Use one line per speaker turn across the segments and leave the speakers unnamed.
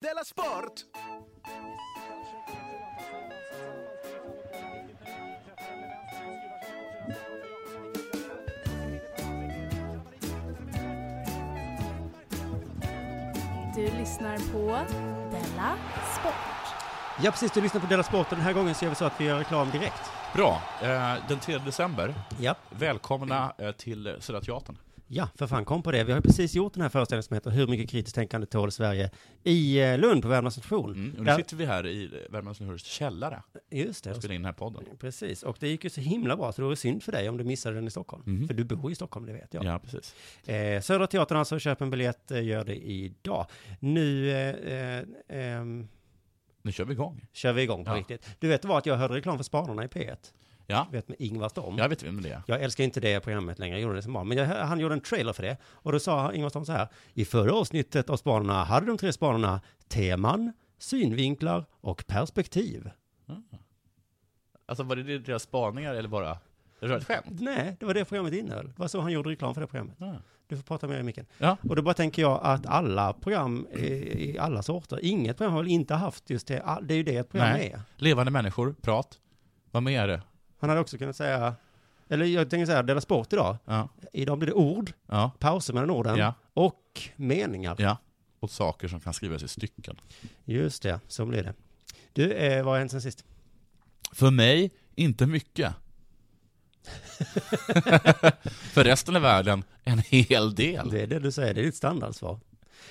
Della Sport!
Du lyssnar på Della Sport.
Ja precis, du lyssnar på Della Sport och den här gången så gör vi så att vi gör reklam direkt.
Bra. Eh, Den 3 december,
Ja.
välkomna eh, till Södra Teatern.
Ja, för fan kom på det. Vi har ju precis gjort den här föreställningen som heter Hur mycket kritiskt tänkande tål Sverige? I eh, Lund på Värmlands station.
Mm. Och nu
Där-
sitter vi här i Värmlands Nyhörs källare
Just
och
det.
spelar in den här podden.
Precis, och det gick ju så himla bra så det vore synd för dig om du missade den i Stockholm. För du bor i Stockholm, det vet jag.
Mhm. Ja, precis.
Eh, Södra Teatern alltså, köp en biljett, eh, gör det idag. Nu eh, eh, ehm,
Nu kör vi igång.
kör vi igång på
Ja.
riktigt. Du vet vad, att jag hörde reklam för Spanarna i P1.
Ja,
Du vet med Ingvar Storm.
jag vet vem det är.
Jag älskar inte det programmet längre, jag gjorde det som barn. Men jag, han gjorde en trailer för det. Och då sa Ingvar Storm så här. I förra avsnittet av Spanarna hade de tre spanarna teman, synvinklar och perspektiv.
Alltså var det deras spaningar eller bara? Det var ett skämt.
Nej, det var det programmet innehöll. Det var så han gjorde reklam för det programmet.
Ja.
Du får prata mer i micken.
Ja.
Och då bara tänker jag att alla program eh, i alla sorter, inget program har väl inte haft just det, all- det är ju det ett program
Nej.
är.
Levande människor, prat. Vad mer är det?
Han hade också kunnat säga, eller jag tänker säga, Dela Sport idag.
Ja,
Idag blir det ord,
ja,
pauser mellan orden
ja.
och meningar.
ja. Och saker som kan skrivas i stycken.
Just det, så blir det. Du, eh, vad har hänt sen sist?
För mig, inte mycket. För resten av världen, en hel del.
Det är det du säger, det är ditt standardsvar.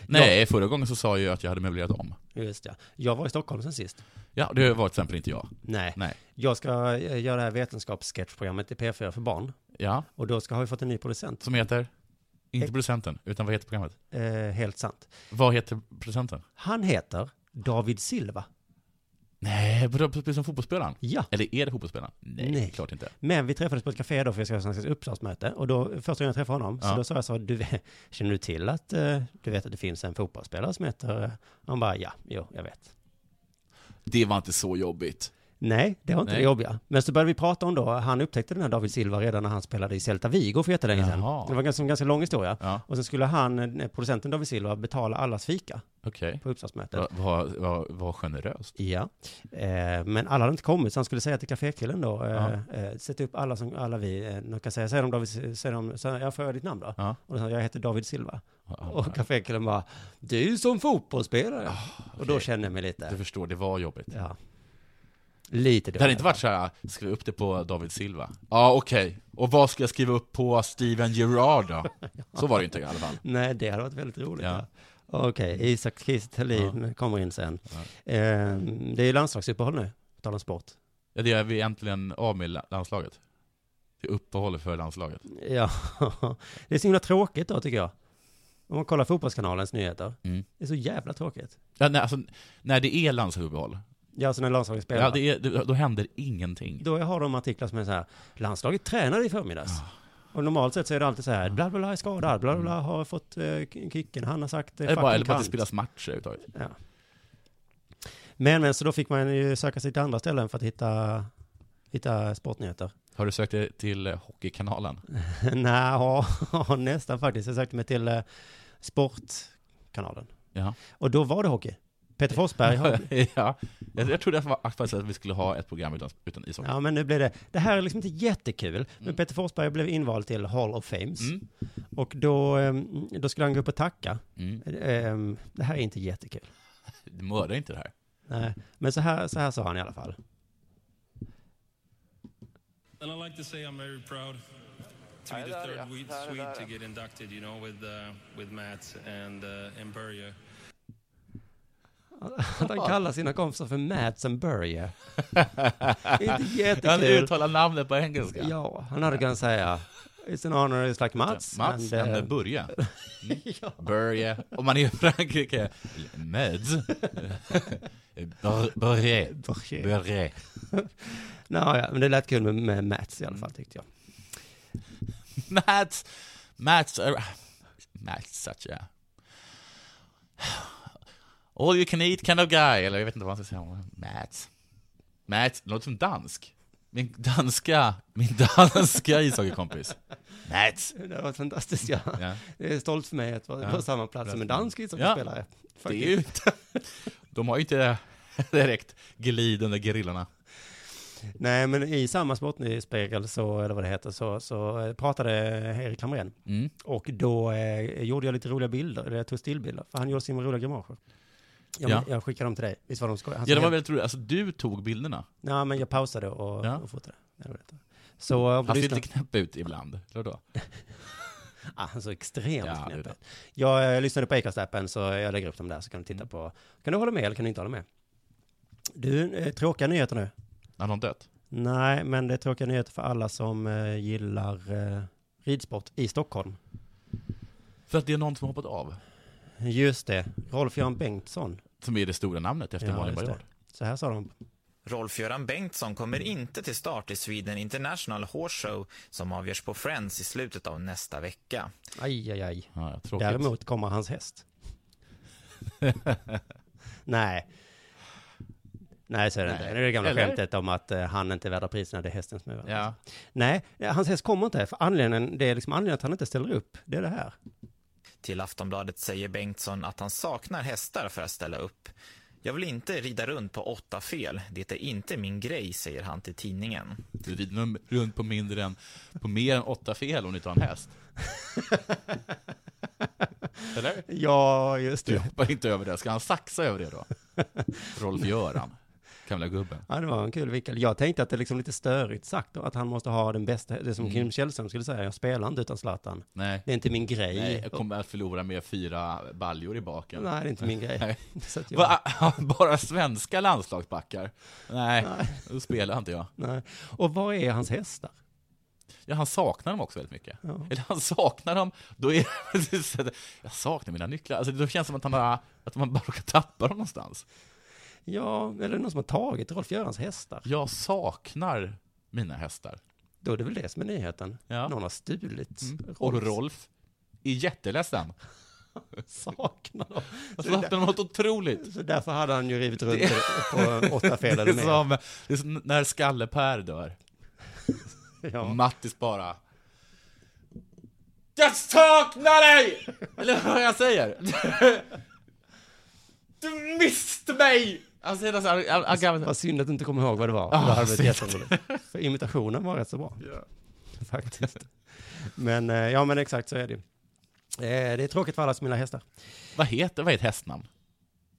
Nej, förra gången så sa jag ju att jag hade möblerat om.
Just det. Jag var i Stockholm sen sist.
Ja, det var till exempel inte jag.
Nej.
Nej.
Jag ska eh, göra det här vetenskapssketchprogrammet i P4 för barn.
Ja,
Och då ska, har vi fått en ny producent.
som heter? Inte producenten, utan vad heter programmet?
Eh, helt sant.
Vad heter producenten?
Han heter David Silva.
Nej, vadå, precis som fotbollsspelaren.
Ja.
Eller är det fotbollsspelaren? Nej,
Nej.
klart inte.
Men vi träffades på ett café då för jag ska ha ett uppslagsmöte. Och då, första gången jag träffade honom, så
Ja.
då sa jag så, du, vet- känner du till att, eh, du vet att det finns en fotbollsspelare som heter, eh?" han bara, ja, jo, jag vet.
Det var inte så jobbigt.
Nej, det var inte
Nej.
det jobbiga. Men så började vi prata om då, han upptäckte den här David Silva redan när han spelade i Celta Vigo för jättelänge sedan.
Jaha.
Det var en ganska, en ganska lång historia.
Ja,
Och sen skulle han, eh, producenten David Silva, betala allas fika
okej.
på uppsatsmötet.
Vad Vad vad- vad generöst.
Ja, eh, men alla hade inte kommit så han skulle säga till kafékillen då, eh, eh, sätt upp alla som, alla vi, eh, de kan säga, säg om David, säg om, så jag får höra ditt namn då?
Ja.
Och då sa han, jag heter David Silva.
Ja,
och kafékillen bara, du är ju som fotbollsspelare. Och då
okej.
kände jag mig
Du
lite,
förstår, det var jobbigt.
ja, lite
Det hade inte varit så här, skriv upp det på David Silva. Ja, okej. Och vad ska jag skriva upp på Steven Gerrard då? Så var det inte i alla fall.
Nej, det hade varit väldigt roligt.
Ja. Mm.
Ja. Okej, Isak Kiese Thelin kommer in sen. Eh, det är ju landslagsuppehåll nu, på tal om sport.
Ja, det är vi äntligen av med la- landslaget. Det är uppehållet för landslaget.
Ja, det är så himla tråkigt då tycker jag. Om man kollar Fotbollskanalens nyheter.
Mm.
Det är så jävla tråkigt.
Ja, nej, alltså, när det är landslagsuppehåll,
Ja, alltså när landslaget spelar.
ja, det är, då då händer ingenting.
Då har de artiklar som är så här, landslaget tränade i förmiddags.
Ah.
Och normalt sett så är det alltid så här, bla bla bla är skadad, bla bla bla har fått eh, kicken, han har sagt eh,
Eller bara, eller bara att
kant.
Mm. det spelas matcher överhuvudtaget.
Ja. Men, men så då fick man ju söka sig till andra ställen för att hitta, hitta sportnyheter.
Har du sökt dig till eh, Hockeykanalen?
Nej, ja, nästan faktiskt. Jag sökte mig till eh, Sportkanalen.
Ja.
Och då var det hockey. Peter Forsberg har...
ja. Jag, jag trodde att det var- faktiskt att vi skulle ha ett program utan, utan ishockey.
Ja, men nu blev det... Det här är liksom inte jättekul, men Peter Forsberg blev invald till Hall of Fames.
Mm.
Och då, ehm, då skulle han gå upp och tacka.
Mm.
Ehm, Det här är inte jättekul.
Du mördar inte det här.
Nej, men så här, så här sa han i alla fall.
And I'd like to say I'm very proud to be the third we- Swede to get inducted, you know, with uh, with Matt and uh, and Börje.
Att han kallar sina kompisar för Mats and Börje. inte
Han
jättekul.
uttalar namnet på engelska.
Ja, han hade kunnat säga It's an honor, it's like Mats.
Mats
and,
and
ehm,
Börje. Mm. Börje. Om man är i Frankrike, Meds. Bör- Börje.
Börje.
Börje.
Nå, ja, men det lät kul med, med Mats i alla fall tyckte jag.
Mats, Mats, are- Mats such a all you can eat kind of guy, eller jag vet inte vad man ska säga. Mats. Mats, låter som dansk. Min danska, min danska ishockeykompis. Nät!
Det var fantastiskt. Ja.
Ja.
Det är stolt för mig att vara på samma plats som en dansk ishockeyspelare.
Det
Faktiskt.
är ju inte... De har ju inte direkt gliden under gerillarna.
Nej, men i samma Sportnyspegel, så, eller vad det heter, så, så eh, pratade Erik Hamrén.
Mm.
Och då eh, gjorde jag lite roliga bilder, eller jag tog stillbilder, för han gjorde sina roliga grimaser. Jag,
Ja.
jag skickade dem till dig, visst var de skoj? Han
Ja, det
sa,
var väldigt roligt. Alltså, du tog bilderna.
Nej, men jag pausade och,
Ja.
och fotade. Det var det. Så,
Han ser
lyssna-
lite knäpp ut ibland. Eller då?
ah, han såg extremt
Ja, det
knäpp
är
ut. Jag, eh, lyssnade på Acast-appen, så jag lägger upp dem där, så kan du
Mm.
titta på. Kan du hålla med eller kan du inte hålla med? Du, eh, tråkiga nyheter nu.
Har någon dött?
Nej, men det är tråkiga nyheter för alla som eh, gillar eh, ridsport i Stockholm.
För att det är någon som har hoppat av.
Just det, Rolf-Göran Bengtsson.
Som är det stora namnet efter Malin
just det.
Baryard.
Så här sa de.
Rolf-Göran Bengtsson kommer inte till start i Sweden International Horse Show som avgörs på Friends i slutet av nästa vecka.
Aj, aj, aj.
Ja, ja, tråkigt.
Däremot kommer hans häst. Nej. Nej, så är det
Nej.
inte. Det är det gamla
Eller?
skämtet om att eh, han inte är värd priserna, det är hästen som är värd.
Ja.
Nej, eh, hans häst kommer inte. För anledningen, det är liksom anledningen att han inte ställer upp, det är det här.
Till Aftonbladet säger Bengtsson att han saknar hästar för att ställa upp. Jag vill inte rida runt på åtta fel. Det är inte min grej, säger han till tidningen.
Du rider nog runt på mindre än, på mer än åtta fel om du inte har en häst. Eller?
Ja, just
Du hoppar inte över det. Ska han saxa över det då? Rolf-Göran. Gamla gubben.
Ja, det var en kul vinkel. Jag tänkte att det är liksom lite störigt sagt då, att han måste ha den bästa, det som
Mm.
Kim Källström skulle säga, jag spelar inte utan Zlatan.
Nej.
Det är inte min grej.
Nej, jag kommer att förlora med fyra baljor i baken.
Nej, det är inte min grej.
Nej.
Så att jag,
Va? Bara svenska landslagsbackar? Nej, då spelar inte jag.
nej. Och vad är hans hästar?
Ja, han saknar dem också väldigt mycket. Eller han saknar dem, då är det så att jag saknar mina nycklar. Alltså, då känns det som att, han bara, att man bara råkar tappa dem någonstans.
Ja, eller är det någon som har tagit Rolf-Görans hästar?
Jag saknar mina hästar.
Då är det väl det som är nyheten.
Ja. Mm.
Någon har stulit
Och
Rolfs
Rolf är jätteledsen.
saknar dem.
Han
Så, där,
saknar något otroligt.
så därför hade han ju rivit runt på åtta fel
Det
eller
är,
mer.
som, det är som när Skalle-Per dör.
Ja.
Mattis bara Jag saknar dig! Eller vad jag säger Du miste mig! Han säger så här, han- han Ah, kan-
Vad synd att du inte kommer ihåg vad det var. det hade varit jätteroligt. För imitationen var rätt så bra. Faktiskt. Men eh, ja, men exakt så är det ju. Eh, Det är tråkigt för alla som gillar hästar.
Vad heter, vad är ett hästnamn?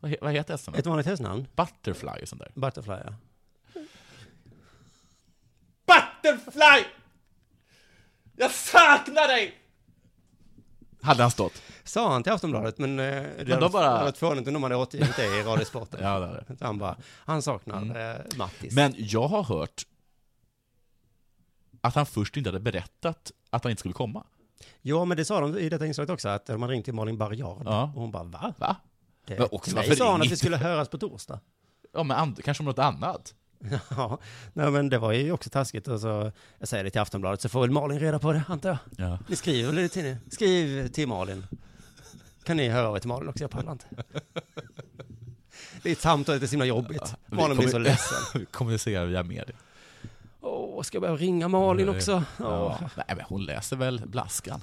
Vad, he, vad heter hästnamn?
Ett vanligt hästnamn?
Butterfly och sånt där
Butterfly, ja.
Butterfly! Jag saknar dig! Hade han stått?
Sa han till Aftonbladet, men eh, det
de
hade
bara-
bara... varit fånigt om de hade återgivit det i Radiosporten.
Ja, det hade
Så Han bara, han saknar eh, Mattis.
Men jag har hört att han först inte hade berättat att han inte skulle komma
Ja, men det sa de i detta inslaget också, att de hade ringt till Malin Baryard.
Ja.
Och hon bara, va?
Va?
Det,
Men också,
nej,
varför
sa hon att
ringde?
vi skulle höras på torsdag.
Ja men and- kanske om något annat?
Ja, nej, men det var ju också taskigt. Och så, jag säger det till Aftonbladet, så får väl Malin reda på det, antar jag.
Ja
Ni skriver väl till ni? Skriv till Malin. Kan ni höra av er till Malin också? Jag pallar inte. Det är ett samtal, det är så himla jobbigt.
Vi
Malin blir
kommer-
så ledsen.
vi kommunicerar via media.
Åh, ska jag behöva ringa Malin också? Åh.
Ja. Nej, men hon läser väl Blaskan.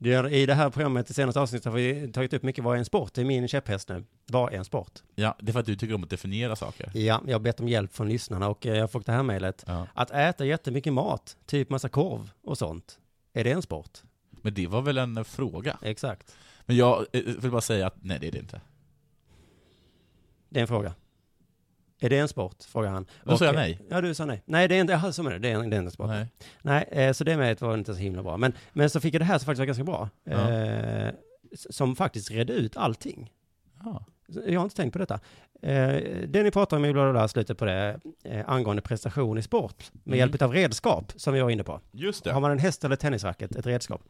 Det är- I det här programmet, i senaste avsnittet, har vi tagit upp mycket vad är en sport? Det är min käpphäst nu. Vad är en sport?
Ja, det är för att du tycker om att definiera saker.
Ja, jag har bett om hjälp från lyssnarna och eh, jag har fått det här mejlet.
Ja.
Att äta jättemycket mat, typ massa korv och sånt. Är det en sport?
Men det var väl en eh, fråga?
Exakt.
Men jag eh, vill bara säga att nej, det är det inte.
Det är en fråga. Är det en sport? Frågar han.
Då sa
Och-
jag nej.
Ja, du sa nej. Nej, det är inte, jaha, så menar du. Det är, en- det är inte en sport.
Nej.
Nej, eh, så det med var inte så himla bra. Men, men så fick jag det här som faktiskt var ganska bra.
Ja.
Eh, s- som faktiskt redde ut allting.
Ja.
Så Jag har inte tänkt på detta. Eh, det ni pratar om i bla bla bla, slutet på det, eh, angående prestation i sport, med
Mm.
hjälp av redskap, som vi var inne på.
Just det.
Har man en häst eller tennisracket, ett redskap.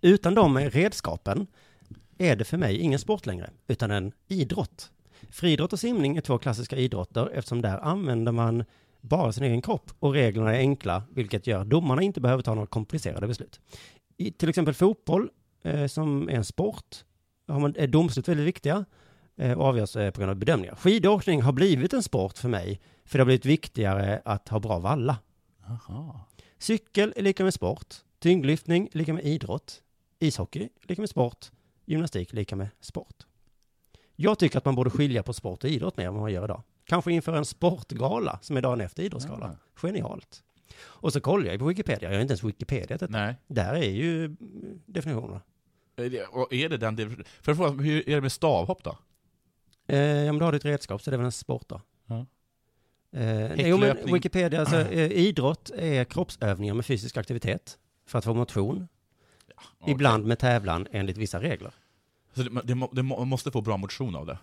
Utan de redskapen är det för mig ingen sport längre, utan en idrott. Friidrott och simning är två klassiska idrotter eftersom där använder man bara sin egen kropp och reglerna är enkla, vilket gör att domarna inte behöver ta några komplicerade beslut. I till exempel fotboll, eh, som är en sport, har man, är domslut väldigt viktiga. eh, och avgörs eh, på grund av bedömningar. Skidåkning har blivit en sport för mig, för det har blivit viktigare att ha bra valla.
Jaha.
Cykel är lika med sport, tyngdlyftning är lika med idrott, ishockey är lika med sport, gymnastik är lika med sport. Jag tycker att man borde skilja på sport och idrott mer än vad man gör idag. Kanske införa en sportgala som är dagen efter idrottsgalan.
Ja.
Genialt. Och så kollar jag på Wikipedia, jag har inte ens Wikipedia till
Nej.
Där är ju mm, definitionerna.
Är det- och Är det den... det- För att fråga, hur är det med stavhopp då?
Eh, om du har ditt redskap så är det väl en sport då?
Ja.
Eh, nej, jo, men
Häcklöpning.
Wikipedia, alltså, eh, idrott är kroppsövningar med fysisk aktivitet för att få motion,
Okej.
ibland med tävlan enligt vissa regler.
Så det, det, må- det må- man måste få bra motion av det.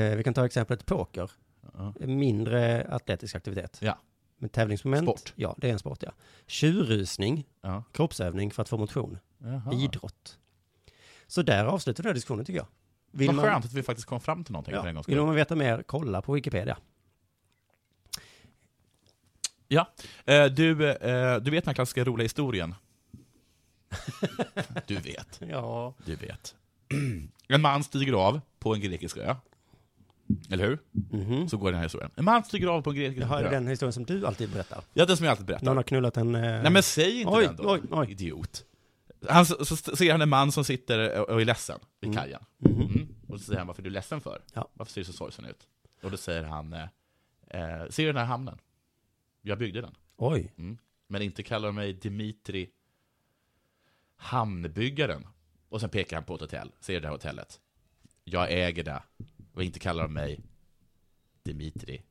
Eh, vi kan ta exemplet poker,
Ja.
mindre atletisk aktivitet.
Ja.
Men tävlingsmoment?
Sport.
Ja, det är en sport ja. Tjurrusning,
Ja. Ah.
kroppsövning för att få motion,
Jaha.
idrott. Så där avslutar vi den här diskussionen tycker jag. Vill
Vad
man-
skönt att vi faktiskt kom fram till någonting för en
Ja.
gångs
Vill
skull.
man veta mer, kolla på Wikipedia.
Ja. Eh, Du, eh, du vet den här klassiska roliga historien? du vet,
Ja.
du vet. En man stiger av på en grekisk ö. Eller hur?
Mhm.
Så går den här historien. En man stiger av på en grekisk
Jaha, är det
ö.
den historien som du alltid berättar?
Ja, den som jag alltid berättar.
Någon har knullat en... eh,
Nej men säg inte
Oj,
den då,
oj, oj.
idiot. Han, så, så ser han en man som sitter eh, och och är ledsen vid kajen.
Mhm.
Mm. Och så säger han, varför är du ledsen för?
Ja.
Varför ser du så sorgsen ut? Och då säger han, eh, eh, ser du den här hamnen? Jag byggde den.
Oj.
Mm. Men inte kallar de mig Dimitri Hamnbyggaren. Och sen pekar han på ett hotell. Ser du det här hotellet? Jag äger det. Och inte kallar de mig Dimitri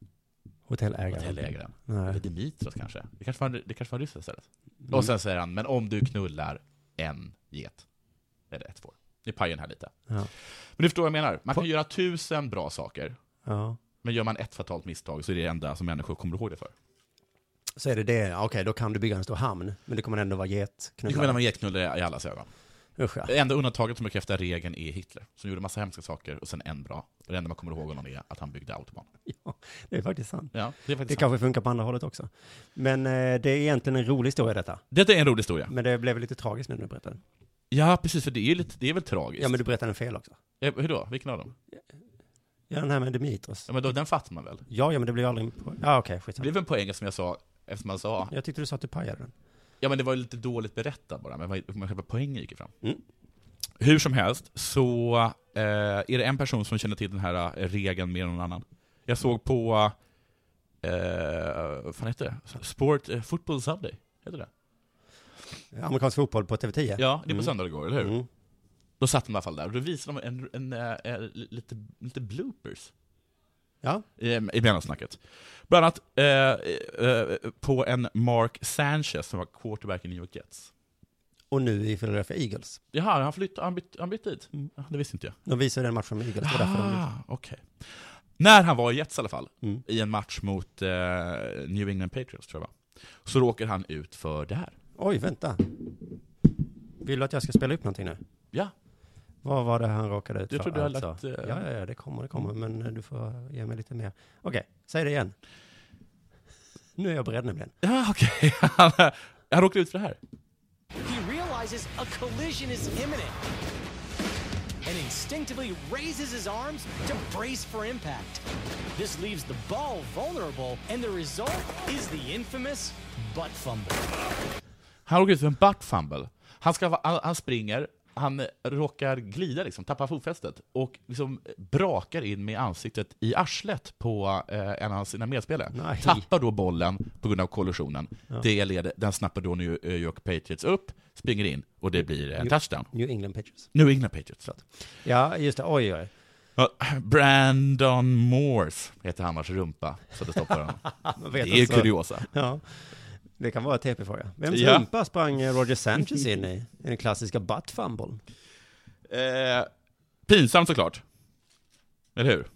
Hotellägaren.
Hotellägaren. Eller
Nej.
Dimitros kanske. Det kanske var, det kanske var ryssen istället. Och sen säger han, men om du knullar en get. Eller ett får. Nu pajar den här lite.
Ja.
Men du förstår vad jag menar. Man kan göra tusen bra saker.
ja.
Men gör man ett fatalt misstag så är det det enda som människor kommer ihåg det för.
Så är det det, Ja, okej, då kan du bygga en stor hamn, men det kommer ändå vara
Det kommer när
getknullar.
man getknullar i allas ögon.
Usch ja.
Det enda undantaget som bekräftar regeln är Hitler, som gjorde massa hemska saker och sen en bra. Och det enda man kommer ihåg honom är att han byggde autobahn.
ja. Det är faktiskt sant.
Ja, det är
Det
faktiskt sant.
kanske funkar på andra hållet också. Men eh, det är egentligen en rolig historia detta.
Detta är en rolig historia.
Men det blev lite tragiskt nu när du berättade den.
Ja, precis, för det är, ju lite, det är väl tragiskt?
Ja, men du berättade den fel också.
Eh, Hur då? Vilken av dem?
Ja, den här med Dimitros.
Ja, men då, den fattar man väl?
Ja, ja, men det blev aldrig... en po- Ja, okej,
Det
skitsamma.
blev en poäng som jag sa, eftersom man sa,
Jag tyckte du sa att du pajade den.
ja men det var ju lite dåligt berättat bara, men vad- men själva poängen gick ju fram.
Mm.
Hur som helst, så eh, är det en person som känner till den här eh, regeln mer än någon annan. Jag såg på, eh, vad fan heter det? Sport, eh, Football Sunday, heter det?
Amerikansk fotboll på TV10.
Ja, det är på
Mm.
söndag det går, eller hur?
Mm.
Då satt de i alla fall där, och då visade de en, en, eh, eh, lite, lite bloopers
Ja.
i, i mellansnacket. Bland annat eh, eh, på en Mark Sanchez som var quarterback i New York Jets.
Och nu i Philadelphia Eagles.
Jaha, han flyttade, han bytte, han bytte dit?
Mm.
Ja, Det visste inte jag.
De visade den matchen med Eagles. Det var därför de...
Ah, okej. När han var i Jets i alla fall,
Mm.
i en match mot eh, New England Patriots tror jag va? så råkar han ut för det här.
Oj, vänta. Vill du att jag ska spela upp någonting nu?
Ja,
Vad var det han råkade ut för?
Jag tror du har lagt, eh,
Ja, ja, ja, det kommer, det kommer, men eh, du får ge mig lite mer. Okej, säg det igen. Nu är jag beredd nämligen.
ja okej. Han, han råkade ut för det här.
He realizes a collision is imminent and instinctively raises his arms to brace for impact. This leaves the ball vulnerable, and the result is the infamous butt fumble.
Han råkar ut för en butt fumble. Han, ska, han, han springer, han råkar glida, liksom, tappar fotfästet och liksom brakar in med ansiktet i arslet på eh, en av sina medspelare.
Nej.
Tappar då bollen på grund av kollisionen. Det leder, den snappar då New York Patriots upp, springer in och det blir en touchdown.
New England Patriots.
New England Patriots.
Ja, just det. Oj, oj.
Ja, Brandon Morse heter han vars rumpa, så det stoppar honom.
Man
Ah, Det
vet
är ju
alltså.
kuriosa.
Ja. Det kan vara en TP-fråga. Vems
Ja.
rumpa sprang eh, Roger Sanchez in i? I den klassiska butt fumble.
Eh, pinsamt såklart. Eller hur?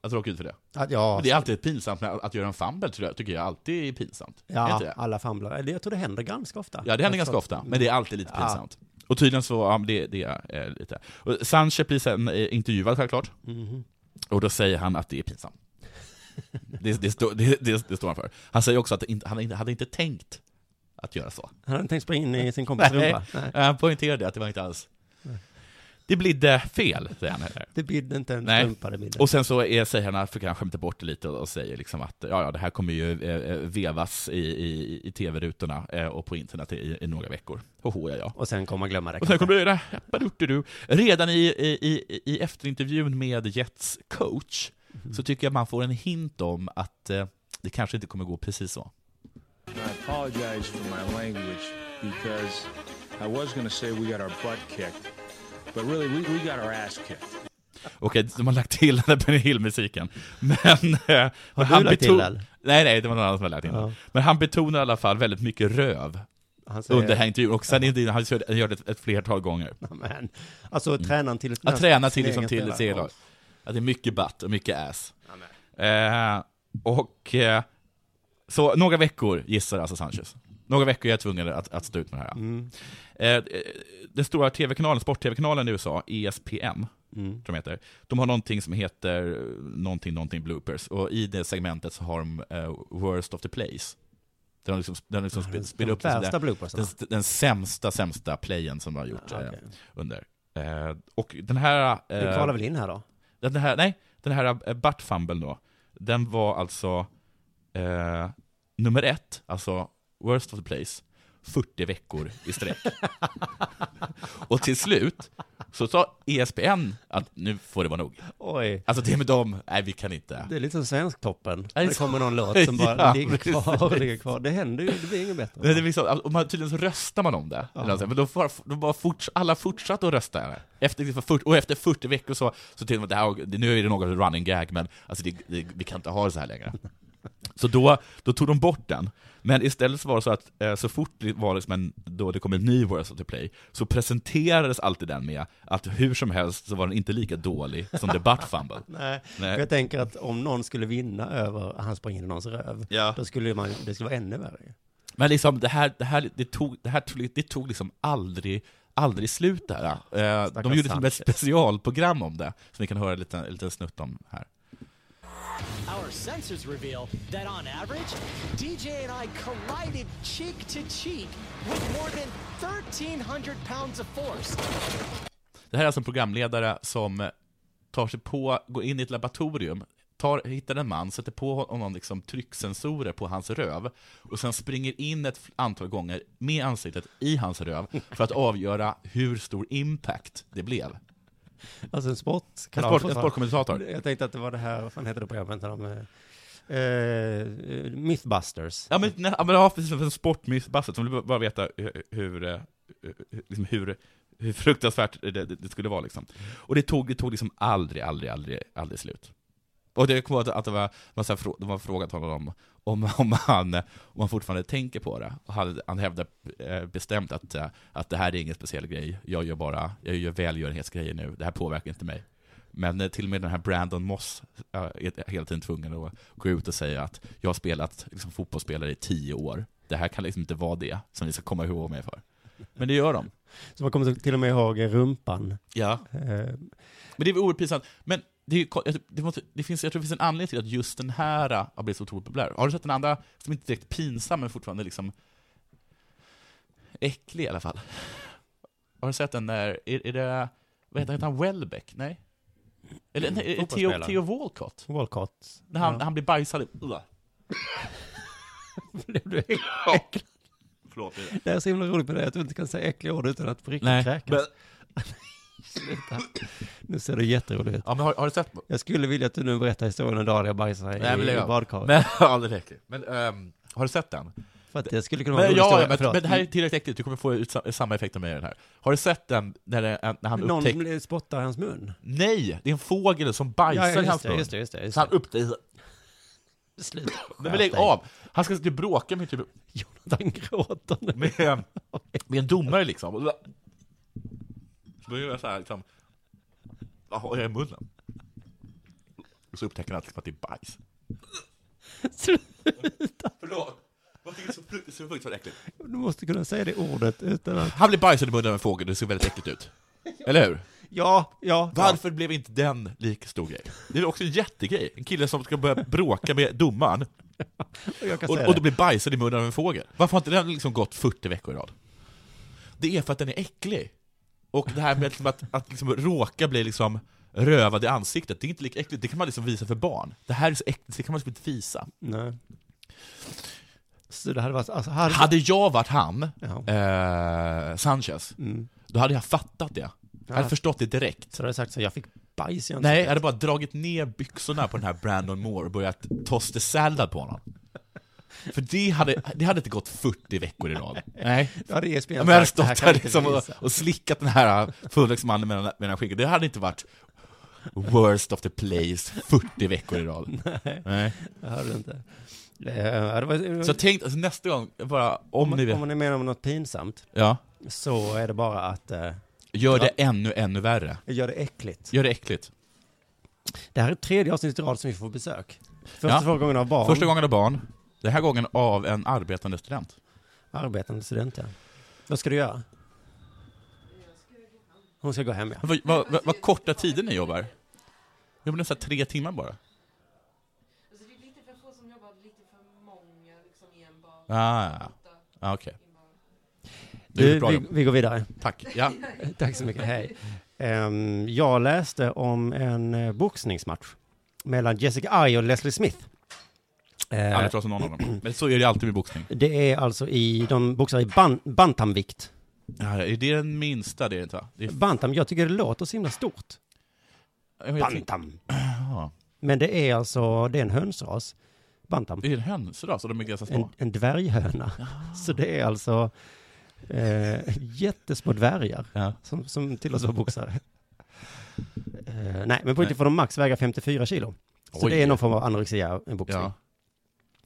Att råka ut för det.
Att- Ah, Ja,
Men Det är alltid pinsamt när, att göra en fumble, tror jag, tycker jag alltid är pinsamt. Är inte det?
ja alla fumblar. Eller jag tror det händer ganska ofta.
ja, det händer ganska ofta, men det är alltid lite
Ja.
pinsamt. Och tydligen så, ja, men det, det är eh, lite... Och Sanchez blir sen eh, intervjuad självklart,
Mhm.
och då säger han att det är pinsamt. Det, det, står- det, det, det står han för. Han säger också att inte- han inte- hade inte tänkt att göra så. Eh,
Han hade inte tänkt springa in i sin kompis rumpa. Nej.
Han poängterade att det var inte alls... Det bidde fel, säger han. Här.
Det bidde inte en
Nej.
strumpa, det bidde.
Och sen så är, säger han, att- för han skämtar bort det lite och säger liksom att ja, ja, det här kommer ju eh, eh, vevas i, i, i tv-rutorna eh, och på internet i, i några veckor. Hoho, ja, ja.
Och sen kommer man glömma det.
Och sen
kanske.
kommer det där, jappaduttudu. Redan i, i, i, i efterintervjun med Jets coach
Mhm.
så tycker jag man får en hint om att eh, det kanske inte kommer gå precis så.
I apologize for my language because I was going to say we got our butt kicked, but really we, we got our ass kicked.
Okej, de har lagt till den där Benny Hill-musiken. Men... eh, men
du lagt till den?
Nej, nej, det var någon annan som hade lagt till
Ja.
den. Men han betonar i alla fall väldigt mycket röv
Han säger,
under den här intervjun, och sen ja. han kör- han gör det ett, ett flertal gånger.
Men, alltså tränaren till...
Att Mm. träna till, liksom,
egen
till
spelare.
serielag. Att det är mycket butt och mycket ass. Eh, och... Eh, så några veckor gissar alltså Sanchez. Några veckor är jag tvungen att, att stå ut med det här.
Mm.
Eh, eh, den stora tv-kanalen, sport-tv-kanalen i USA, E ESPN,
Mm.
tror de heter. De har någonting som heter eh, någonting, någonting bloopers, och i det segmentet så har de eh, worst of the plays. Där de liksom, där de liksom sp- spelar upp
värsta
den, där-
bloopersarna.
den, den sämsta, sämsta playen som de har gjort
Ah,
eh,
okej.
under. Eh, och den här... eh,
Den kvalar väl in här då?
den här, nej, den här eh, butt fumble då, den var alltså eh, nummer ett, alltså worst of the place, 40 veckor i sträck. och till slut så sa E ESPN att nu får det vara nog.
Oj.
Alltså det med dem, nej vi kan inte.
Det är lite som Svensktoppen.
det
När det
så?
kommer någon låt som bara
Ja,
ligger kvar och ligger kvar. Det händer ju, det blir inget bättre.
Det är liksom, och man, tydligen så röstar man om det, eller något sånt. men då var, då var forts, alla fortsatte att rösta. här. Efter, liksom 40 och efter 40 veckor så, så tänkte man det här, nu är det något av en running gag, men alltså det, det, vi kan inte ha det så här längre. Så då, då tog de bort den, men istället så var det så att eh, så fort det, var liksom en, då det kom en ny World of the Play, så presenterades alltid den med att hur som helst så var den inte lika dålig som The Butt Fumble.
Nej,
Nej.
för jag tänker att om någon skulle vinna över att han sprang in i någons röv,
Ja.
då skulle man, det skulle vara ännu värre.
Men liksom det här, det här, det tog, det här tog, det tog liksom aldrig, aldrig slut där. Eh, de gjorde till och med ett
Sanchez.
specialprogram om det, som vi kan höra en liten, en liten snutt om här.
Our sensors reveal that on average, DJ and I collided cheek to cheek with more than 1,300 pounds of force.
Det här är alltså en programledare som tar sig på, går in i ett laboratorium, tar, hittar en man, sätter på honom liksom trycksensorer på hans röv och sen springer in ett antal gånger med ansiktet i hans röv för att avgöra hur stor impact det blev.
Alltså en
En,
sportkanal.
sport, en
fortfarande.
sportkommentator.
Jag tänkte att det var det här, vad fan heter det programmet när de... eh, eh, Mythbusters.
Ja men, nej, ja, men ja, precis, en sportmissbasset, som vill bara veta hur, hur, eh, liksom hur, hur fruktansvärt det, det, det skulle vara liksom. Och det tog, det tog liksom aldrig, aldrig, aldrig, aldrig slut. Och det kommer ihåg att, att det var, man så här, frå- de har frågat honom om, om, om, han, om han fortfarande tänker på det. Och han, han hävdar eh, bestämt att, eh, att det här är ingen speciell grej, jag gör bara, jag gör välgörenhetsgrejer nu, det här påverkar inte mig. Men eh, till och med den här Brandon Moss eh, är hela tiden tvungen att gå ut och säga att jag har spelat liksom, fotbollsspelare i tio år. Det här kan liksom inte vara det som ni ska komma ihåg mig för. Men det gör de.
Så man kommer till och med ihåg rumpan.
Ja.
Eh,
Men det är väl oerhört pinsamt. Men det, är, ju ko- jag- det, måste, det finns, jag tror det finns en anledning till att just den här eh, har blivit så otroligt populär. Har du sett den andra, som inte är direkt pinsam, men fortfarande liksom äcklig i alla fall? Har du sett den där, är, är det, vad heter heter han, Welbeck? Nej? Eller nej, är det Theo,
Fotbollsspelaren.
Theo Walcott?
Walcott.
När han,
Ja.
när han blir bajsad i... Ugh.
Blev du äcklad?
Förlåt.
Det är så himla roligt med det, att du inte kan säga äckliga ord utan att på riktigt
Nej. Men,
kräkas. Sluta. Nu ser det jätteroligt ut.
ja, men har, har du sett?
Jag skulle vilja att du nu berättar historien om dagen jag bajsade
Nej, men
i,
lägg
i
av.
badkaret.
Men, ja, det räcker. Men, ehm, har du sett den?
för att det skulle kunna vara en
Men,
rolig
ja,
historia.
men,
Förlåt.
men det här är tillräckligt äckligt, du kommer få ut sa- samma effekt av mig i den här. Har du sett den när, det, när han
Någon
upptäcker...
blir- spottar i hans mun.
Nej! Det är en fågel som bajsar i hans mun.
just det. Just
Så han upptäcker...
det. Sluta
Men lägg av! Han ska sitta och bråka med, typ,
Jonathan gråter nu.
med, ehm, med en domare liksom. Och då- Så börjar jag så här liksom... Vad har jag i munnen? Och så upptäcker han liksom att det är bajs. Förlåt! Vad tycker du så frukt- så fruktansvärt äckligt?
Du måste kunna säga det ordet utan att...
Han blir bajsad i munnen av en fågel, det ser väldigt äckligt ut. Eller hur?
Ja, ja.
Varför blev inte den lika stor grej? Det är också en jättegrej. En kille som ska börja bråka med domaren,
ja, Jag kan
och,
säga
och då
det.
blir bajsad i munnen av en fågel. Varför har inte den liksom gått 40 veckor i rad? Det är för att den är äcklig. Och det här med liksom att, att liksom råka bli liksom rövad i ansiktet, det är inte lika äckligt, det kan man liksom visa för barn. Det här är så äckligt, det kan man liksom inte visa.
Nej. Så det hade varit, alltså, hade,
Hade jag varit han,
ja.
eh, Sanchez,
Mm.
då hade jag fattat det. Jag hade
Ja.
förstått det direkt.
Så hade jag sagt så här, jag fick bajs i
Nej, jag
ansiktet.
hade bara dragit ner byxorna på den här Brandon Moore och börjat tosta sallad på honom. För det hade, det hade inte gått 40 veckor i rad. Nej.
Då hade E ESPN
Ja, Men jag hade
sagt, det här
stått
kan
där
vi
liksom
inte
och,
visa.
och slickat den här fullväxtmannen mellan, mellan skinkorna. Det hade inte varit worst of the plays 40 veckor i rad. Nej.
Det hade du inte. Eh, det var,
Så tänk, alltså nästa gång, bara om ni
om,
vet,
om ni menar om något pinsamt
ja,
så är det bara att eh,
gör det ännu, ännu värre.
gör det äckligt.
Gör det äckligt.
Det här är tredje avsnittet i rad som vi får besök. Första
Ja.
två gångerna av barn,
Första gången av barn, den här gången av en arbetande student.
arbetande student. Ja. Vad ska du göra? Hon ska gå hem, ja.
Vad, vad, vad, vad korta tider ni jobbar. Jag nästan tre timmar bara. Ah, ah okej. Det är
Du,
ett bra
vi,
jobb.
vi går vidare.
Tack. Ja.
Tack så mycket, hej. Ehm, jag läste om en eh, boxningsmatch mellan Jessica Ay och Leslie Smith. Eh,
Aldrig trasat någon av dem. Men så är det alltid med boxning.
det är alltså i, de boxar i ban, bantamvikt.
Ja, är det den minsta det är inte va? Det är
Bantam, jag tycker det låter så himla stort.
jag vet inte.
Bantam.
Ja.
Men det är alltså, det är en hönsras. Bantam.
Det är en hönsras och de är ganska
En,
små.
en dvärghöna. Så det är alltså eh, jättesmå dvärgar
Ja.
som, som tillåts vara boxare. eh, nej, men på riktigt får de max väga 54 kilo. Så
Oj.
det är någon form av anorexia, en boxning.
Ja.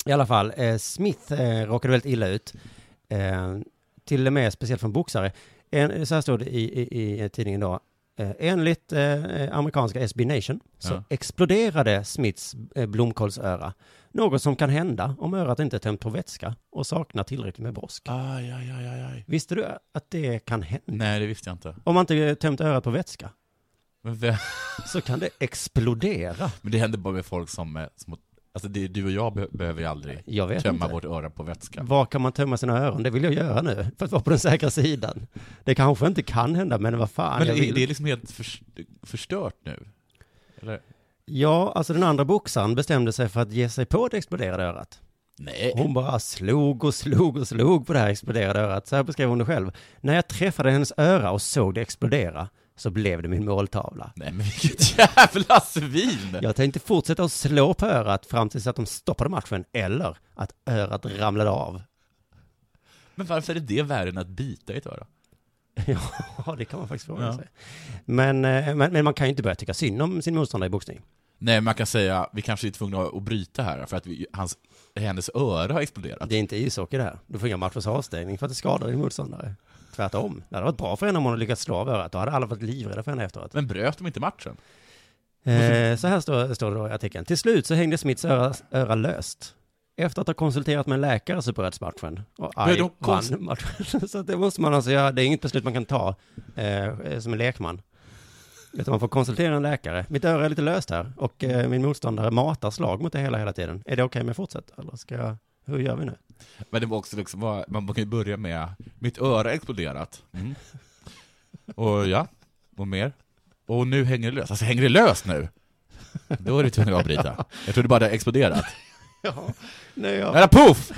I alla fall, eh, Smith eh, råkade väldigt illa ut. Eh, till och med speciellt från boxare. En, eh, så här stod det i, i, i tidningen då. Eh, enligt eh, amerikanska SB Nation så
Ja.
exploderade Smiths eh, blomkålsöra. Något som kan hända om örat inte är tömt på vätska och saknar tillräckligt med brosk.
Aj, aj, aj, aj, aj.
Visste du att det kan hända?
Nej, det visste jag inte.
Om man inte är tömt örat på vätska
Men, vem-
så kan det explodera.
men det händer bara med folk som, eh, som alltså det, du och jag be, behöver ju aldrig
Jag vet
tömma
inte.
vårt öra på vätska.
Var kan man tömma sina öron? Det vill jag göra nu, för att vara på den säkra sidan. Det kanske inte kan hända, men vad fan.
Men
jag
det,
vill.
det är liksom helt förs- förstört nu. Eller?
Ja, alltså den andra boxaren bestämde sig för att ge sig på det exploderade örat.
Nej.
Hon bara slog och slog och slog på det här exploderade örat. Så här beskrev hon det själv. När jag träffade hennes öra och såg det explodera så blev det min måltavla.
Nej men vilket jävla svin!
Jag tänkte fortsätta att slå på örat fram tills att de stoppade matchen eller att örat ramlade av.
Men varför är det värre än att bita i ett öra?
Ja, det kan man faktiskt fråga
Ja.
sig. Men, eh, men, men man kan ju inte börja tycka synd om sin motståndare i boxning.
Nej man kan säga, vi kanske är tvungna att bryta här för att vi, hans, hennes öra har exploderat.
Det är inte ishockey det här. Du får inga matchers avstängning för att det skadar din motståndare. Tvärtom. Det hade varit bra för henne om hon hade lyckats slå av örat. Då hade alla varit livrädda för henne efteråt.
Men bröt de inte matchen?
Eh, så här står, står det då i artikeln. Till slut så hängde Smiths öra, öra löst. Efter att ha konsulterat med en läkare så bröts matchen. Och
Men
Aj
de konst-
vann matchen. Så att det måste man alltså göra. Det är inget beslut man kan ta eh, som en lekman. Utan man får konsultera en läkare. Mitt öra är lite löst här och eh, min motståndare matar slag mot det hela hela tiden. Är det okej om jag fortsätter? Eller ska jag... Hur gör vi nu?
Men det var också liksom, vad- man kan ju börja med, mitt öra har exploderat. Mm. Och ja, och mer. Och nu hänger det löst. Alltså hänger det löst nu? Då är det tvungen att avbryta. Jag trodde bara det hade exploderat.
Ja, nej, jag
Eller poff!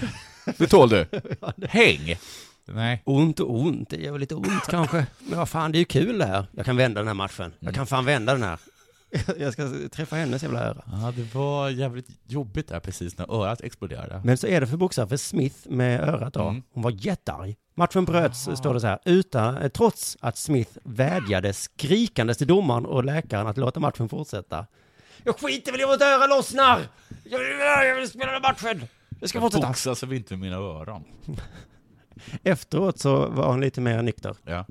Det tål du. Häng! Nej.
Ont och ont, det gör väl lite ont kanske. Men vad fan, det är ju kul det här. Jag kan vända den här matchen. Jag
Mm.
kan fan vända den här. Jag ska träffa hennes jävla öra.
Ja, det var jävligt jobbigt där precis när örat exploderade.
Men så är det för boxare, för Smith med örat då,
Mm.
hon var jättearg. Matchen bröts, står det så här, utan, eh, trots att Smith vädjade skrikandes till domaren och läkaren att låta matchen fortsätta. Jag skiter väl i om mitt öra lossnar! Jag vill, jag vill spela den här matchen! Jag ska fortsätta.
Boxas över inte med mina öron.
Efteråt så var hon lite mer nykter.
Ja.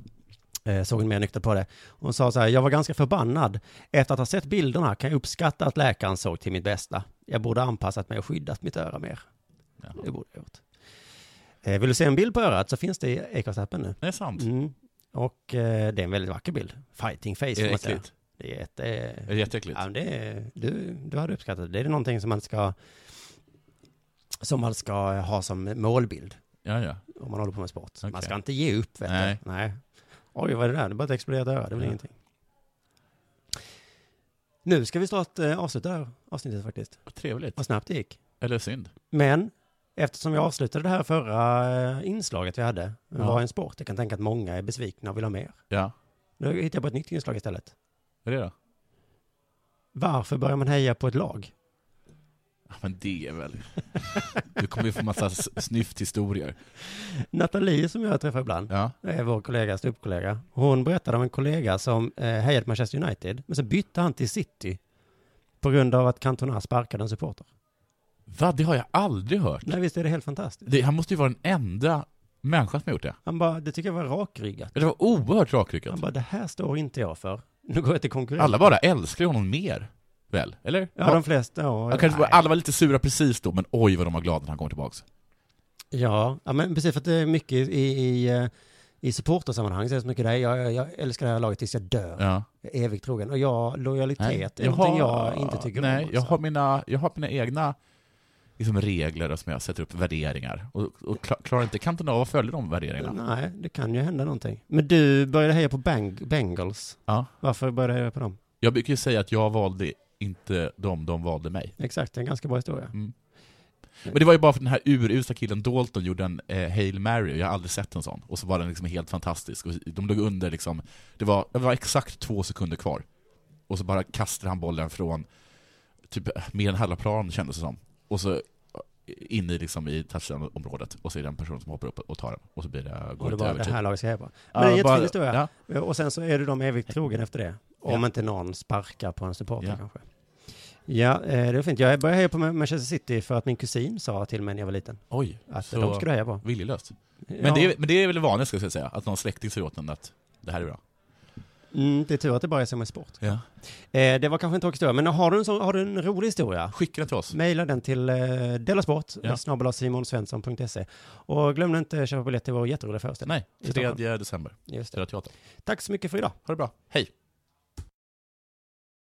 Eh, såg hon mer nykter på det. Hon sa så här, jag var ganska förbannad. Efter att ha sett bilderna kan jag uppskatta att läkaren såg till mitt bästa. Jag borde ha anpassat mig och skyddat mitt öra mer.
Jaha.
Det borde jag gjort. Eh, vill du se en bild på örat så finns det i Acast-appen nu.
Det är sant.
Mm. Och eh, det är en väldigt vacker bild. Fighting face.
Är
får
det
man säga.
äckligt?
Det är ett... Eh,
Är det jätteäckligt?
ja, men det är, du, du hade uppskattat det. Det är någonting som man ska... Som man ska ha som målbild
Ja, ja.
om man håller på med sport. Man
Okej.
ska inte ge upp, vet
Nej.
du. Nej. Oj, vad är det där? Det bara ett exploderat öra, det blir ingenting. Nu ska vi snart eh, avsluta det här avsnittet faktiskt.
Trevligt.
Vad snabbt det gick.
Eller synd.
Men eftersom jag avslutade det här förra eh, inslaget vi hade, var en sport, jag kan tänka att många är besvikna och vill ha mer.
Ja.
Nu hittar jag på ett nytt inslag istället.
Är det då?
Varför börjar man heja på ett lag?
Ja, men det är väl... Du kommer ju få massa s- snyfthistorier.
Natalie som jag träffar ibland,
Ja.
det är vår kollega, ståuppkollega. Hon berättade om en kollega som eh, hejade på Manchester United, men så bytte han till City på grund av att Cantona sparkade en supporter.
Va? Det har jag aldrig hört.
Nej, visst är det helt fantastiskt.
Det, han måste ju vara den enda människan som har gjort det.
Han bara, det tycker jag var rakryggat.
Det var oerhört
Han
rakryggat.
bara, det här står inte jag för. Nu går jag till konkurrent.
Alla bara älskar ju honom mer. Väl? Eller?
Ja, de flesta. Ja,
Jag kanske bara,
Nej.
alla var lite sura precis då, men oj vad de var glada när han kom tillbaka.
Ja, ja, men precis för att det är mycket i, i, eh, i supportersammanhang så är det så mycket där. Jag, jag, jag älskar det här laget tills jag dör.
Ja.
Jag är evigt trogen. Och jag,
Nej,
lojalitet är någonting jag inte tycker om.
nej,
också.
jag har mina, jag har mina egna liksom, regler och som jag sätter upp värderingar. Och, och kla- klarar inte Cantona att följa de värderingarna?
Nej, det kan ju hända någonting. Men du började heja på Bang- Bengals.
Ja.
Varför började du heja på dem?
Jag brukar ju säga att jag valde inte dem, de valde mig.
Exakt, det är en ganska bra historia.
Men det var ju bara för den här urusla killen Dalton gjorde en eh, Hail Mary, jag har aldrig sett en sån. Och så var den liksom helt fantastisk. Och de låg under liksom, det var, det var exakt två sekunder kvar. Och så bara kastade han bollen från typ mer än halva planen kändes det som. Och så eh, in i, liksom, i touchdown-området. Och så är det en person som hoppar upp och tar den. Och så blir det,
Och
går
det
det till
var det
övertid.
här laget ska heja på. Men det är en
Ja, bara-
jättefin historia.
ja.
Och sen så är du dem evigt trogen efter det. Om
Ja.
inte någon sparkar på en supporter
Ja.
kanske. Ja, eh, det är fint. Jag började heja på Manchester City för att min kusin sa till mig när jag var liten
Oj,
att
så
de skulle heja på.
viljelöst. Men,
Ja.
det, är- men det är väl vanligt, ska jag säga, att någon släkting säger åt en att det här är bra.
Mm, det är tur att det bara är som en sport.
Ja.
Eh, det var kanske en tråkig historia, men har du en, sån, har du en rolig historia?
Skicka den till oss.
Maila den till eh, delasport,
Ja.
snabel-a simonsvensson.se. Och glöm inte köpa biljett till vår jätteroliga föreställning.
Nej,
I
3 december.
Just det.
Störa teatern.
Tack så mycket för idag.
Ha det bra. Hej.